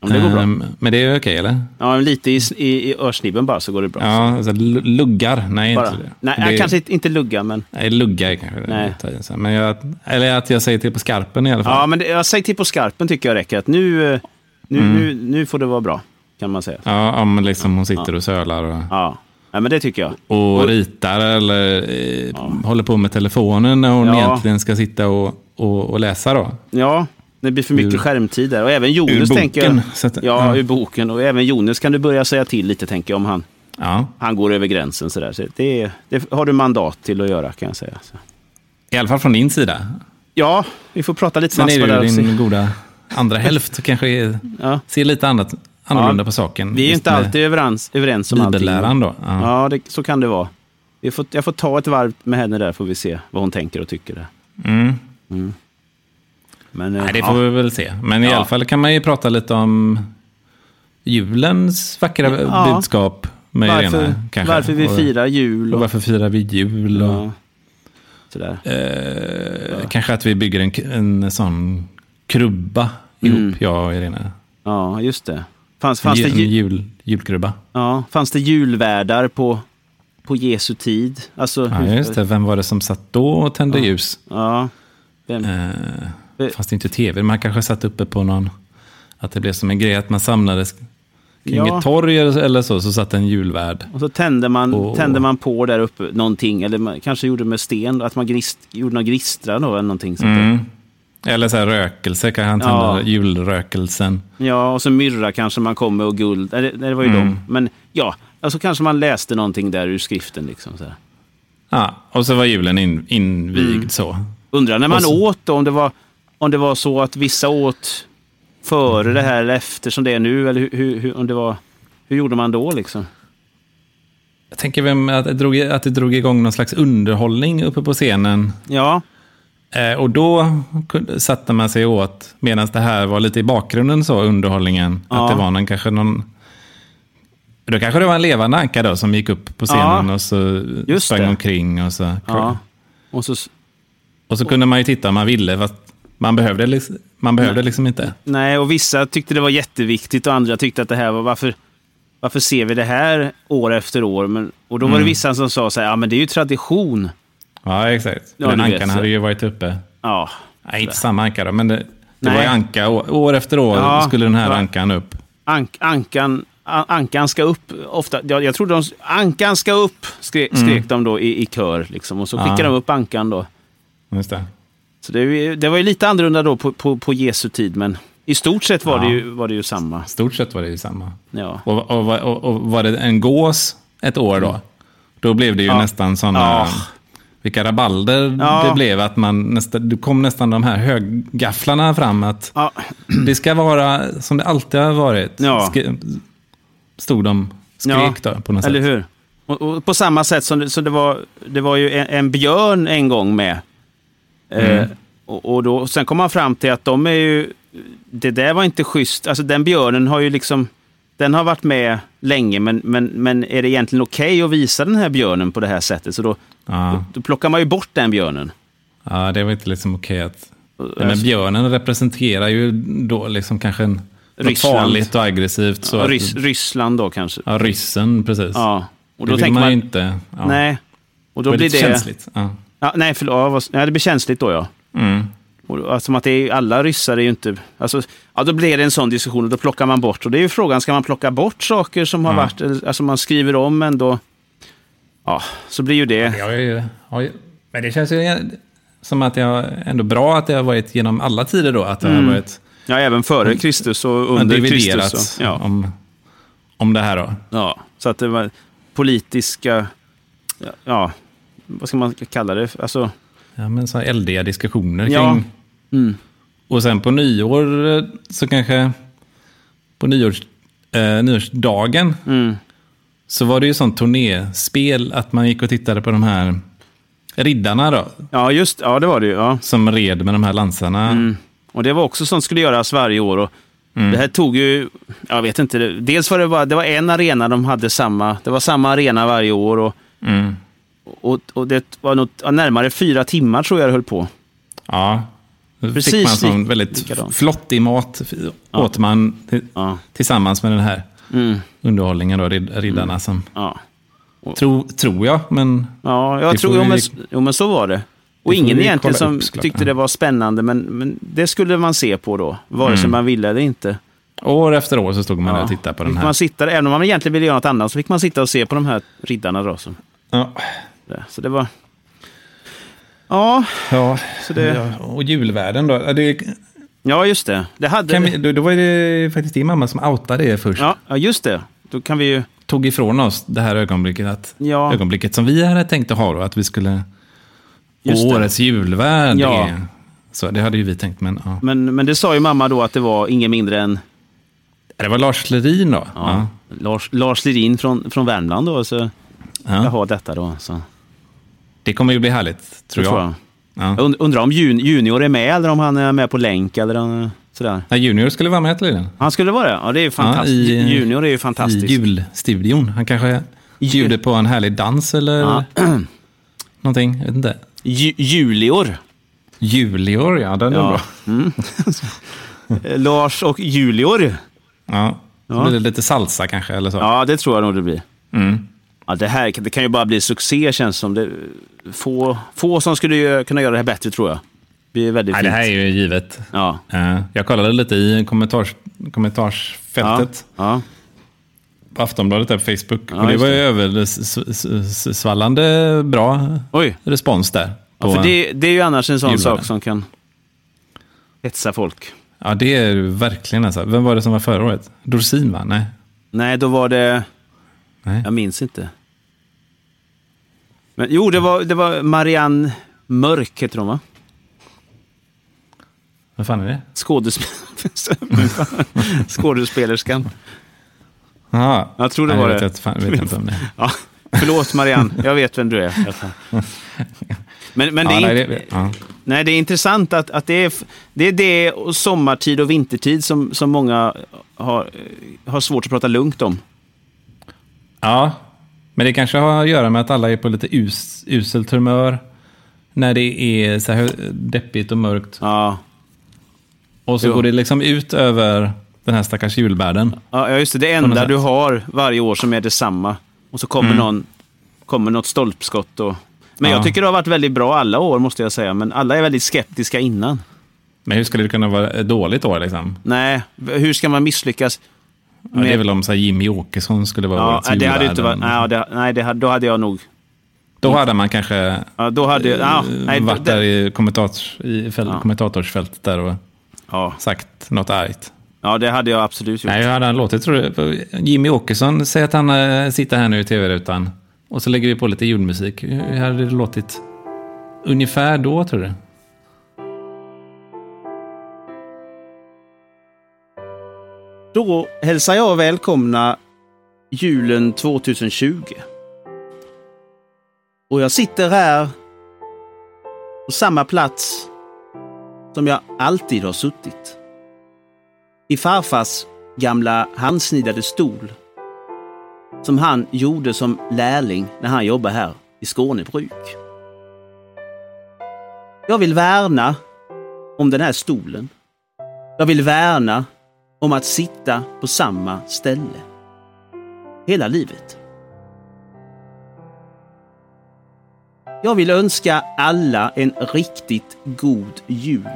Speaker 2: Mm, det går bra.
Speaker 1: Ehm, Men det är okej, eller?
Speaker 2: Ja, men lite i, i, i örsnibben bara så går det bra.
Speaker 1: Ja, alltså, l- luggar. Nej,
Speaker 2: bara.
Speaker 1: inte det.
Speaker 2: Nej,
Speaker 1: det
Speaker 2: kanske inte- inte lugga, men...
Speaker 1: Nej, luggar är kanske det.
Speaker 2: Nej.
Speaker 1: tar jag sen. Men jag, eller att jag säger till på skarpen i alla fall.
Speaker 2: Ja, men det, jag säger till på skarpen tycker jag räcker. Att nu, eh, nu,
Speaker 1: Mm.
Speaker 2: nu, nu får det vara bra, kan man säga. Ja,
Speaker 1: Ja, om liksom hon sitter och sölar och,
Speaker 2: ja. men det tycker jag.
Speaker 1: och ritar eller eh, håller på med telefonen när hon
Speaker 2: Ja.
Speaker 1: egentligen ska sitta och, och, och läsa då.
Speaker 2: Ja, det blir för mycket
Speaker 1: Ur-
Speaker 2: skärmtid där. Och även
Speaker 1: ur
Speaker 2: Jonas
Speaker 1: boken,
Speaker 2: tänker jag...
Speaker 1: så att-
Speaker 2: ja,
Speaker 1: ja.
Speaker 2: ur boken. Och även Jonas kan du börja säga till lite, tänker jag, om han,
Speaker 1: Ja,
Speaker 2: han går över gränsen. Så där. Så det, det har du mandat till att göra, kan jag säga. Så.
Speaker 1: i alla fall från din sida.
Speaker 2: Ja, vi får prata lite
Speaker 1: Sen är
Speaker 2: massor
Speaker 1: det
Speaker 2: där.
Speaker 1: ju
Speaker 2: och
Speaker 1: din
Speaker 2: se.
Speaker 1: goda andra hälft kanske är,
Speaker 2: Ja.
Speaker 1: ser lite annat, annorlunda
Speaker 2: Ja,
Speaker 1: på saken.
Speaker 2: Vi är ju
Speaker 1: Just
Speaker 2: inte
Speaker 1: med
Speaker 2: alltid överens, överens om allting.
Speaker 1: Bibelläran då. Ja.
Speaker 2: Ja, det, så kan det vara. Jag får, jag får ta ett varv med henne där, får vi se vad hon tänker och tycker. Där.
Speaker 1: Mm.
Speaker 2: Men, eh,
Speaker 1: Nej, det
Speaker 2: ja.
Speaker 1: får vi väl se. Men i
Speaker 2: Ja.
Speaker 1: alla fall kan man ju prata lite om julens vackra
Speaker 2: Ja.
Speaker 1: budskap med
Speaker 2: varför,
Speaker 1: Irene. Kanske.
Speaker 2: varför vi
Speaker 1: Och-
Speaker 2: firar jul
Speaker 1: Och
Speaker 2: och,
Speaker 1: varför firar vi jul? Och,
Speaker 2: och sådär.
Speaker 1: eh, Kanske att vi bygger en, en sån krubba ihop, jag och Irene.
Speaker 2: Ja, just det. Fanns, Mm. fanns, det,
Speaker 1: en, ju- en
Speaker 2: ju,
Speaker 1: jul, julkrubba.
Speaker 2: ja, fanns det julvärdar på, på Jesu tid? Alltså,
Speaker 1: Ja, just det. Vem var det som satt då och tände ljus?
Speaker 2: Ja, vem,
Speaker 1: Eh, fast inte tv. Man kanske satt uppe på någon... Att det blev som en grej att man samlades kring
Speaker 2: Ja.
Speaker 1: ett torg eller eller så, så satt en julvärd.
Speaker 2: Och så tände man,
Speaker 1: Och-
Speaker 2: tände man på där uppe någonting, eller man, kanske gjorde med sten, att man grist, gjorde någon gristra då, eller någonting. Sånt där.
Speaker 1: Mm. Eller så här rökelse, kan han tända
Speaker 2: Ja.
Speaker 1: julrökelsen.
Speaker 2: Ja, och så myrra kanske man kom med och guld. Nej, det, nej, det var ju
Speaker 1: Mm.
Speaker 2: dem. Men ja, alltså kanske man läste någonting där ur skriften. Liksom, så här.
Speaker 1: Ja, och så var julen in, invigd
Speaker 2: Mm.
Speaker 1: så.
Speaker 2: Undrar när
Speaker 1: Och
Speaker 2: man
Speaker 1: så-
Speaker 2: åt då, om det, var, om det var så att vissa åt före det här eller efter som det är nu. Eller hur, hur, hur, om det var, hur gjorde man då liksom?
Speaker 1: Jag tänker vem, att, det drog, att det drog igång någon slags underhållning uppe på scenen.
Speaker 2: Ja,
Speaker 1: Eh, och då kunde, satte man sig åt, medan det här var lite i bakgrunden så, underhållningen.
Speaker 2: Ja.
Speaker 1: Att det var någon, kanske någon Då kanske det var en levande anka då som gick upp på scenen
Speaker 2: Ja.
Speaker 1: och så
Speaker 2: Just
Speaker 1: sprang
Speaker 2: det.
Speaker 1: omkring. Och så,
Speaker 2: Ja. Och så,
Speaker 1: och så kunde man ju titta om man ville, fast man behövde, liksom- man behövde liksom inte.
Speaker 2: nej, och vissa tyckte det var jätteviktigt och andra tyckte att det här var varför, varför ser vi det här år efter år? Men, och då
Speaker 1: Mm.
Speaker 2: var det vissa som sa så här, ja men det är ju tradition.
Speaker 1: Ja, exakt.
Speaker 2: Ja,
Speaker 1: Den
Speaker 2: du vet,
Speaker 1: ankan
Speaker 2: så-
Speaker 1: hade ju varit uppe.
Speaker 2: Ja,
Speaker 1: Nej, inte samma anka då, men det, det
Speaker 2: Nej.
Speaker 1: var ju anka. Å- År efter år
Speaker 2: Ja,
Speaker 1: skulle den här
Speaker 2: ja.
Speaker 1: ankan upp.
Speaker 2: Ank, ankan, an, ankan ska upp. Ofta, jag, jag trodde de... Ankan ska upp, skrek, skrek de då i, i kör. Liksom, och så skickade de upp ankan då.
Speaker 1: Just det.
Speaker 2: Så det, är ju- det var ju lite annorlunda då på, på, på Jesu tid, men i stort sett var, det, ju, var det ju samma.
Speaker 1: Stort sett var det ju samma.
Speaker 2: Ja.
Speaker 1: Och, och, och, och var det en gås ett år då, då blev det ju nästan sådana...
Speaker 2: Ja.
Speaker 1: Vilka rabalder
Speaker 2: Ja.
Speaker 1: det blev. att man nästa, Du kom nästan de här höggafflarna fram. att
Speaker 2: Ja,
Speaker 1: Det ska vara som det alltid har varit.
Speaker 2: Ja.
Speaker 1: Sk- stod de
Speaker 2: ja.
Speaker 1: skrek då på något
Speaker 2: Eller
Speaker 1: sätt.
Speaker 2: hur? Och, och på samma sätt som det, så det, var, det var ju en, en björn en gång med. Eh,
Speaker 1: Mm.
Speaker 2: och, och då, sen kom man fram till att de är ju... Det där var inte schysst. Alltså den björnen har ju liksom... Den har varit med länge, men, men, men är det egentligen okej att visa den här björnen på det här sättet? Så då,
Speaker 1: Ja.
Speaker 2: då plockar man ju bort den björnen.
Speaker 1: ja, det var inte liksom okej att... Nej,
Speaker 2: alltså-
Speaker 1: men björnen representerar ju då liksom kanske en, något
Speaker 2: Ryssland.
Speaker 1: farligt och aggressivt. Så att-
Speaker 2: Ryss, Ryssland då kanske.
Speaker 1: ja, ryssen, precis.
Speaker 2: Ja. Och
Speaker 1: det
Speaker 2: då
Speaker 1: vill
Speaker 2: tänker
Speaker 1: man,
Speaker 2: man...
Speaker 1: ju inte. Ja.
Speaker 2: Nej. Och då
Speaker 1: det
Speaker 2: blir det...
Speaker 1: känsligt. Ja.
Speaker 2: Ja, nej, förlåt. Ja, vad- ja, det blir känsligt då, ja. Och, då- alltså, att det är, alla ryssar är ju inte... Alltså, ja, då blir det en sån diskussion och då plockar man bort. Och det är ju frågan, ska man plocka bort saker som har varit... eller- Alltså man skriver om ändå. Ja, så blir ju det...
Speaker 1: Jag är, har ju- men det känns ju som att jag ändå bra att det har varit genom alla tider då. Att det
Speaker 2: Mm.
Speaker 1: har varit
Speaker 2: Ja, även före Kristus och
Speaker 1: man
Speaker 2: under
Speaker 1: dividerat
Speaker 2: Kristus. Och, ja,
Speaker 1: om, om det här då.
Speaker 2: ja, så att det var politiska... ja, Ja, vad ska man kalla det? Alltså,
Speaker 1: Ja, men så här eldiga diskussioner kring...
Speaker 2: Ja. Mm.
Speaker 1: Och sen på nyår eh, så kanske... På nyårs, eh, nyårsdagen
Speaker 2: Mm.
Speaker 1: så var det ju sånt turnéspel att man gick och tittade på de här riddarna då.
Speaker 2: ja, just... Ja, det var det ju. Ja.
Speaker 1: Som red med de här
Speaker 2: Mm.
Speaker 1: lansarna.
Speaker 2: Och det var också sånt som skulle göras varje år. Och
Speaker 1: Mm.
Speaker 2: Det här tog ju, jag vet inte, det- dels var det bara, det var en arena de hade samma, det var samma arena varje år och,
Speaker 1: Mm.
Speaker 2: och, och det var nog ja, närmare fyra timmar tror jag det höll på.
Speaker 1: Ja. Då fick
Speaker 2: Precis
Speaker 1: man sån
Speaker 2: lik-
Speaker 1: väldigt
Speaker 2: likadant.
Speaker 1: flottig mat. f- Åt man t-
Speaker 2: Ja. Mm.
Speaker 1: tillsammans med den här underhållningen då, rid- riddarna som...
Speaker 2: Ja,
Speaker 1: Tro, tror jag, men...
Speaker 2: ja jag
Speaker 1: Det
Speaker 2: tror,
Speaker 1: får
Speaker 2: jo
Speaker 1: vi-
Speaker 2: men, jo men så var det. Och
Speaker 1: Det får
Speaker 2: ingen
Speaker 1: vi
Speaker 2: egentligen
Speaker 1: kolla
Speaker 2: som
Speaker 1: upp såklart,
Speaker 2: tyckte
Speaker 1: ja.
Speaker 2: det var spännande, men, men det skulle man se på då, vare sig man ville eller inte.
Speaker 1: År efter år så stod man där
Speaker 2: Ja.
Speaker 1: och tittade Mm. på
Speaker 2: Fick
Speaker 1: den här.
Speaker 2: Man sitta, även om man egentligen ville göra något annat så fick man sitta och se på de här riddarna då. Så,
Speaker 1: Ja.
Speaker 2: så det var... Ja,
Speaker 1: Ja.
Speaker 2: så det...
Speaker 1: Ja, Och julvärden då? Ja, Det,
Speaker 2: Ja, just det. Det hade...
Speaker 1: kan vi, då, då var det faktiskt din mamma som outade det först.
Speaker 2: Ja, ja, just det. Då kan vi ju...
Speaker 1: Tog ifrån oss det här ögonblicket, att,
Speaker 2: Ja.
Speaker 1: ögonblicket som vi hade tänkt att ha då, att vi skulle...
Speaker 2: Just det.
Speaker 1: årets julvärd.
Speaker 2: Ja.
Speaker 1: Det, så det hade ju vi tänkt, men ja.
Speaker 2: Men, men det sa ju mamma då att det var ingen mindre än
Speaker 1: Det var Lars Lerin då?
Speaker 2: ja, Lars, Lars Lerin från, från Värmland då. Så
Speaker 1: Ja.
Speaker 2: jag har detta då. Så,
Speaker 1: Det kommer ju bli härligt, tror
Speaker 2: det
Speaker 1: jag.
Speaker 2: tror jag.
Speaker 1: Ja.
Speaker 2: jag und- undrar om jun, Junior är med eller om han är med på länk eller om- sådär.
Speaker 1: Nej, junior skulle vara med tydligen.
Speaker 2: Han skulle vara det? Ja, det är ju fantastiskt.
Speaker 1: i-
Speaker 2: junior är ju
Speaker 1: I
Speaker 2: fantastisk.
Speaker 1: julstudion. Han kanske bjuder på en härlig dans eller
Speaker 2: Ja.
Speaker 1: någonting. Jag vet inte.
Speaker 2: Ju, julior.
Speaker 1: Julior, ja. Den är
Speaker 2: Ja.
Speaker 1: bra.
Speaker 2: Eh, Lars och Julior.
Speaker 1: Ja. Så
Speaker 2: Ja.
Speaker 1: blir det lite salsa kanske, eller så.
Speaker 2: Ja, det tror jag nog det blir.
Speaker 1: Mm.
Speaker 2: Ja, det här det kan ju bara bli succé känns som. Det, få, få som skulle ju kunna göra det här bättre tror jag. Det är väldigt
Speaker 1: Nej, det
Speaker 2: fint.
Speaker 1: här är ju givet.
Speaker 2: Ja.
Speaker 1: Eh, Jag kollade lite i kommentars,
Speaker 2: Ja.
Speaker 1: kommentarsfältet
Speaker 2: Ja.
Speaker 1: på Aftonbladet där på Facebook.
Speaker 2: Ja,
Speaker 1: och det
Speaker 2: just
Speaker 1: var ju
Speaker 2: det.
Speaker 1: översvallande bra
Speaker 2: Oj.
Speaker 1: respons där.
Speaker 2: Ja, för
Speaker 1: på-
Speaker 2: det, det är ju annars en sån
Speaker 1: Julen.
Speaker 2: sak som kan hetsa folk.
Speaker 1: ja, det är ju verkligen alltså. Vem var det som var förra året? Dorsin, va? Nej.
Speaker 2: Nej, då var det...
Speaker 1: Nej.
Speaker 2: Jag minns inte. Men, jo, det var, det var Marianne Mörk, heter hon va?
Speaker 1: Vad fan är det?
Speaker 2: Skådespel- Skådespelerskan.
Speaker 1: Jaha.
Speaker 2: Jag tror det
Speaker 1: Nej,
Speaker 2: var
Speaker 1: jag vet
Speaker 2: det.
Speaker 1: inte, fan, jag vet inte om det.
Speaker 2: Ja, förlåt Marianne, jag vet vem du är. Men, men det,
Speaker 1: Ja, nej,
Speaker 2: är nej,
Speaker 1: det, ja.
Speaker 2: nej, det är intressant att, att det, är, f- det är det och sommartid och vintertid som, som många har, har svårt att prata lugnt om.
Speaker 1: Ja, men det kanske har att göra med att alla är på lite us, uselt humör när det är så här deppigt och mörkt.
Speaker 2: Ja.
Speaker 1: Och så
Speaker 2: Jo.
Speaker 1: går det liksom ut över den här stackars julbärden.
Speaker 2: Ja, ja, just det. Det
Speaker 1: något
Speaker 2: enda
Speaker 1: sätt. Mm.
Speaker 2: du har varje år som är detsamma. Och så kommer, någon, kommer något stolpskott. Och... Men
Speaker 1: Ja.
Speaker 2: jag tycker det har varit väldigt bra alla år, måste jag säga. Men alla är väldigt skeptiska innan.
Speaker 1: Men hur skulle det kunna vara ett dåligt år liksom?
Speaker 2: Nej, hur ska man misslyckas?
Speaker 1: Ja, det är
Speaker 2: Med-
Speaker 1: väl om så här, Jimmy Åkesson skulle vara
Speaker 2: Ja,
Speaker 1: årets
Speaker 2: det hade ju inte varit...
Speaker 1: julvärden.
Speaker 2: Nej, det, nej det, hade- då hade jag nog...
Speaker 1: Då hade man kanske
Speaker 2: Ja, då hade, ja, nej,
Speaker 1: eh, varit
Speaker 2: det-
Speaker 1: där i, kommentators, i fäl,
Speaker 2: Ja.
Speaker 1: kommentatorsfältet där och
Speaker 2: Ja,
Speaker 1: sagt något argt.
Speaker 2: ja, det hade jag absolut gjort.
Speaker 1: Nej, hur hade han låtit tror du? Jimmy Åkesson, säg att han eh, sitter här nu i tv-rutan. Och så lägger vi på lite julmusik. Hur hade det låtit? Ungefär då, tror du?
Speaker 2: Då hälsar jag välkomna julen 2020. Och jag sitter här på samma plats som jag alltid har suttit. I farfars gamla handsnidade stol. Som han gjorde som lärling när han jobbade här i Skånebruk. Jag vill värna om den här stolen. Jag vill värna om att sitta på samma ställe. Hela livet. Jag vill önska alla en riktigt god jul.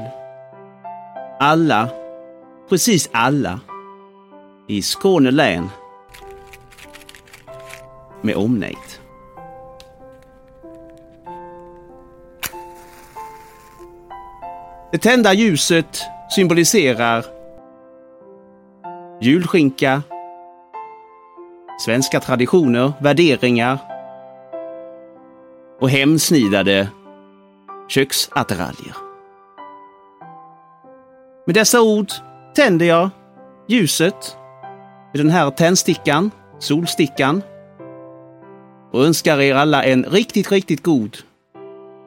Speaker 2: Alla, precis alla, i Skåne län med omnejd. Det tända ljuset symboliserar julskinka, svenska traditioner, värderingar och hemsnidade köksattiraljer. Med dessa ord tänder jag ljuset i den här tändstickan, solstickan och önskar er alla en riktigt, riktigt god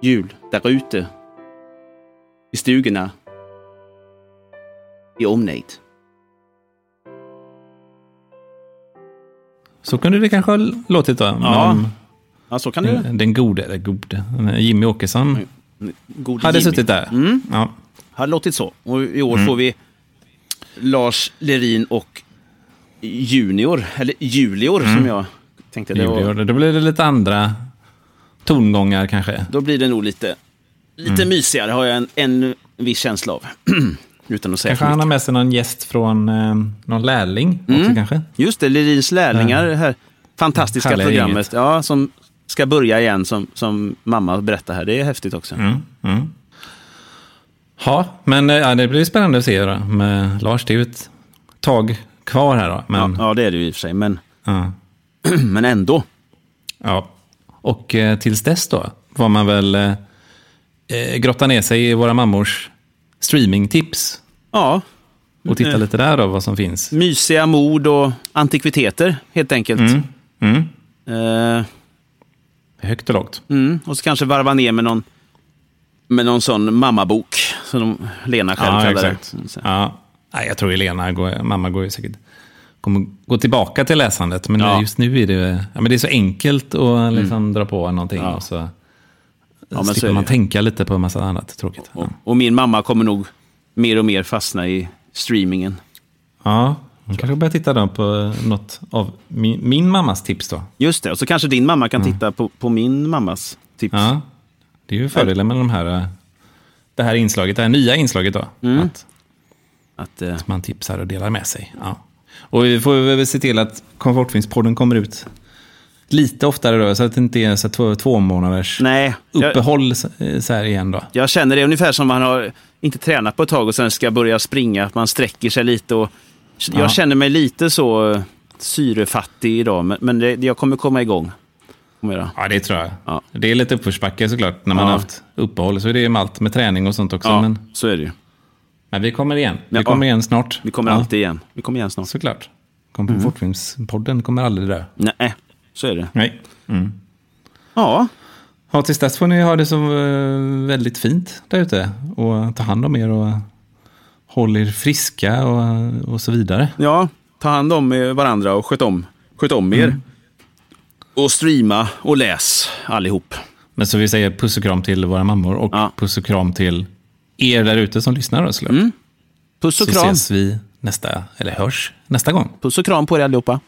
Speaker 2: jul där ute i stugorna i omnejd.
Speaker 1: Så kunde det kanske ha låtit då.
Speaker 2: Ja,
Speaker 1: Men
Speaker 2: Ja, så kan det
Speaker 1: den, den gode, eller gode, Jimmy Åkesson
Speaker 2: God
Speaker 1: hade
Speaker 2: Jimmy.
Speaker 1: suttit där. Mm.
Speaker 2: Mm,
Speaker 1: Ja.
Speaker 2: hade låtit så. Och i år får vi Lars Lerin och Junior, eller Julior som jag tänkte. Det var,
Speaker 1: Mm. Julior. Då blir det lite andra tongångar kanske.
Speaker 2: då blir det nog lite, lite
Speaker 1: Mm.
Speaker 2: mysigare har jag en, en viss känsla av. Utan att säga
Speaker 1: Kanske
Speaker 2: för
Speaker 1: han
Speaker 2: mycket.
Speaker 1: har med sig någon gäst från eh, någon lärling
Speaker 2: Mm.
Speaker 1: också kanske.
Speaker 2: Just det, Lerins lärlingar, det här fantastiska
Speaker 1: Härliga
Speaker 2: programmet. Ja, som ska börja igen som, som mamma berättar här. Det är häftigt också.
Speaker 1: Mm. Ja, men eh, ja, det blir spännande att se då med Lars. Det är ju ett tag kvar här då. Men,
Speaker 2: Ja,
Speaker 1: ja.
Speaker 2: ja, det är det ju i och för sig, men,
Speaker 1: Ja,
Speaker 2: men ändå.
Speaker 1: Och eh, tills dess då var man väl eh, eh, grotta ner sig i våra mammors streamingtips
Speaker 2: Ja,
Speaker 1: och titta
Speaker 2: Mm.
Speaker 1: lite där då vad som finns.
Speaker 2: mysiga mord och antikviteter helt enkelt.
Speaker 1: Mm.
Speaker 2: Eh,
Speaker 1: Högt och lågt.
Speaker 2: mm. Och så kanske varva ner med någon, med någon sån mammabok som de, Lena själv
Speaker 1: Ja,
Speaker 2: kallar
Speaker 1: exakt.
Speaker 2: det. Så-
Speaker 1: Ja. Nej, jag tror Elena, går, mamma går ju säkert kommer gå tillbaka till läsandet. Men
Speaker 2: Ja. Mm.
Speaker 1: just nu är det, ja, men det är så enkelt att liksom dra på någonting.
Speaker 2: Ja.
Speaker 1: Och så
Speaker 2: men så är
Speaker 1: slipper
Speaker 2: det
Speaker 1: man
Speaker 2: ju.
Speaker 1: tänka lite på en massa annat tråkigt.
Speaker 2: Och, och min mamma kommer nog mer och mer fastna i streamingen.
Speaker 1: Ja, man kanske börjar titta då på eh, något av min, min mammas tips då.
Speaker 2: Just det, och så kanske din mamma kan titta på, på min mammas tips.
Speaker 1: Mm. Ja, det är ju fördelen med de här, eh, det här inslaget, det här nya inslaget då.
Speaker 2: Mm.
Speaker 1: Att
Speaker 2: Att, eh,
Speaker 1: man tipsar och delar med sig. Ja. Och vi får väl se till att Komfortfilmspodden kommer ut lite oftare då, så att det inte är så här två, två månaders
Speaker 2: nej, jag,
Speaker 1: uppehåll så- eh, så här igen då.
Speaker 2: jag känner det ungefär som man har inte tränat på ett tag och sen ska börja springa, att man sträcker sig lite. Och, jag
Speaker 1: Ja.
Speaker 2: känner mig lite så eh, syrefattig idag, men, men det, jag kommer komma igång. Kommer jag göra.
Speaker 1: Ja, det tror jag.
Speaker 2: Ja.
Speaker 1: Det är lite uppförsbacke såklart när man
Speaker 2: Ja.
Speaker 1: har haft uppehåll. Så är det ju med allt med träning och sånt också.
Speaker 2: Ja,
Speaker 1: Men,
Speaker 2: så är det ju.
Speaker 1: men vi kommer igen. Vi
Speaker 2: Ja.
Speaker 1: kommer igen snart.
Speaker 2: Vi kommer
Speaker 1: ja,
Speaker 2: alltid igen. Vi kommer igen snart.
Speaker 1: Såklart.
Speaker 2: Mm.
Speaker 1: Komfortfilmspodden kommer aldrig dö.
Speaker 2: Nej, så är det.
Speaker 1: Nej.
Speaker 2: Ja,
Speaker 1: Ja, tills dess får ni ha det så eh, väldigt fint där ute. Och ta hand om er och håll er friska och, och så vidare.
Speaker 2: ja. ta hand om eh, varandra och sköt om, sköt om er. Och streama och läs allihop.
Speaker 1: Men så vi säger puss och kram till våra mammor och
Speaker 2: Ja. Mm.
Speaker 1: puss och kram till er där ute som lyssnar. Då, såklart.
Speaker 2: Puss och
Speaker 1: så
Speaker 2: kram.
Speaker 1: ses vi nästa, eller hörs nästa gång.
Speaker 2: Puss och kram på er allihopa.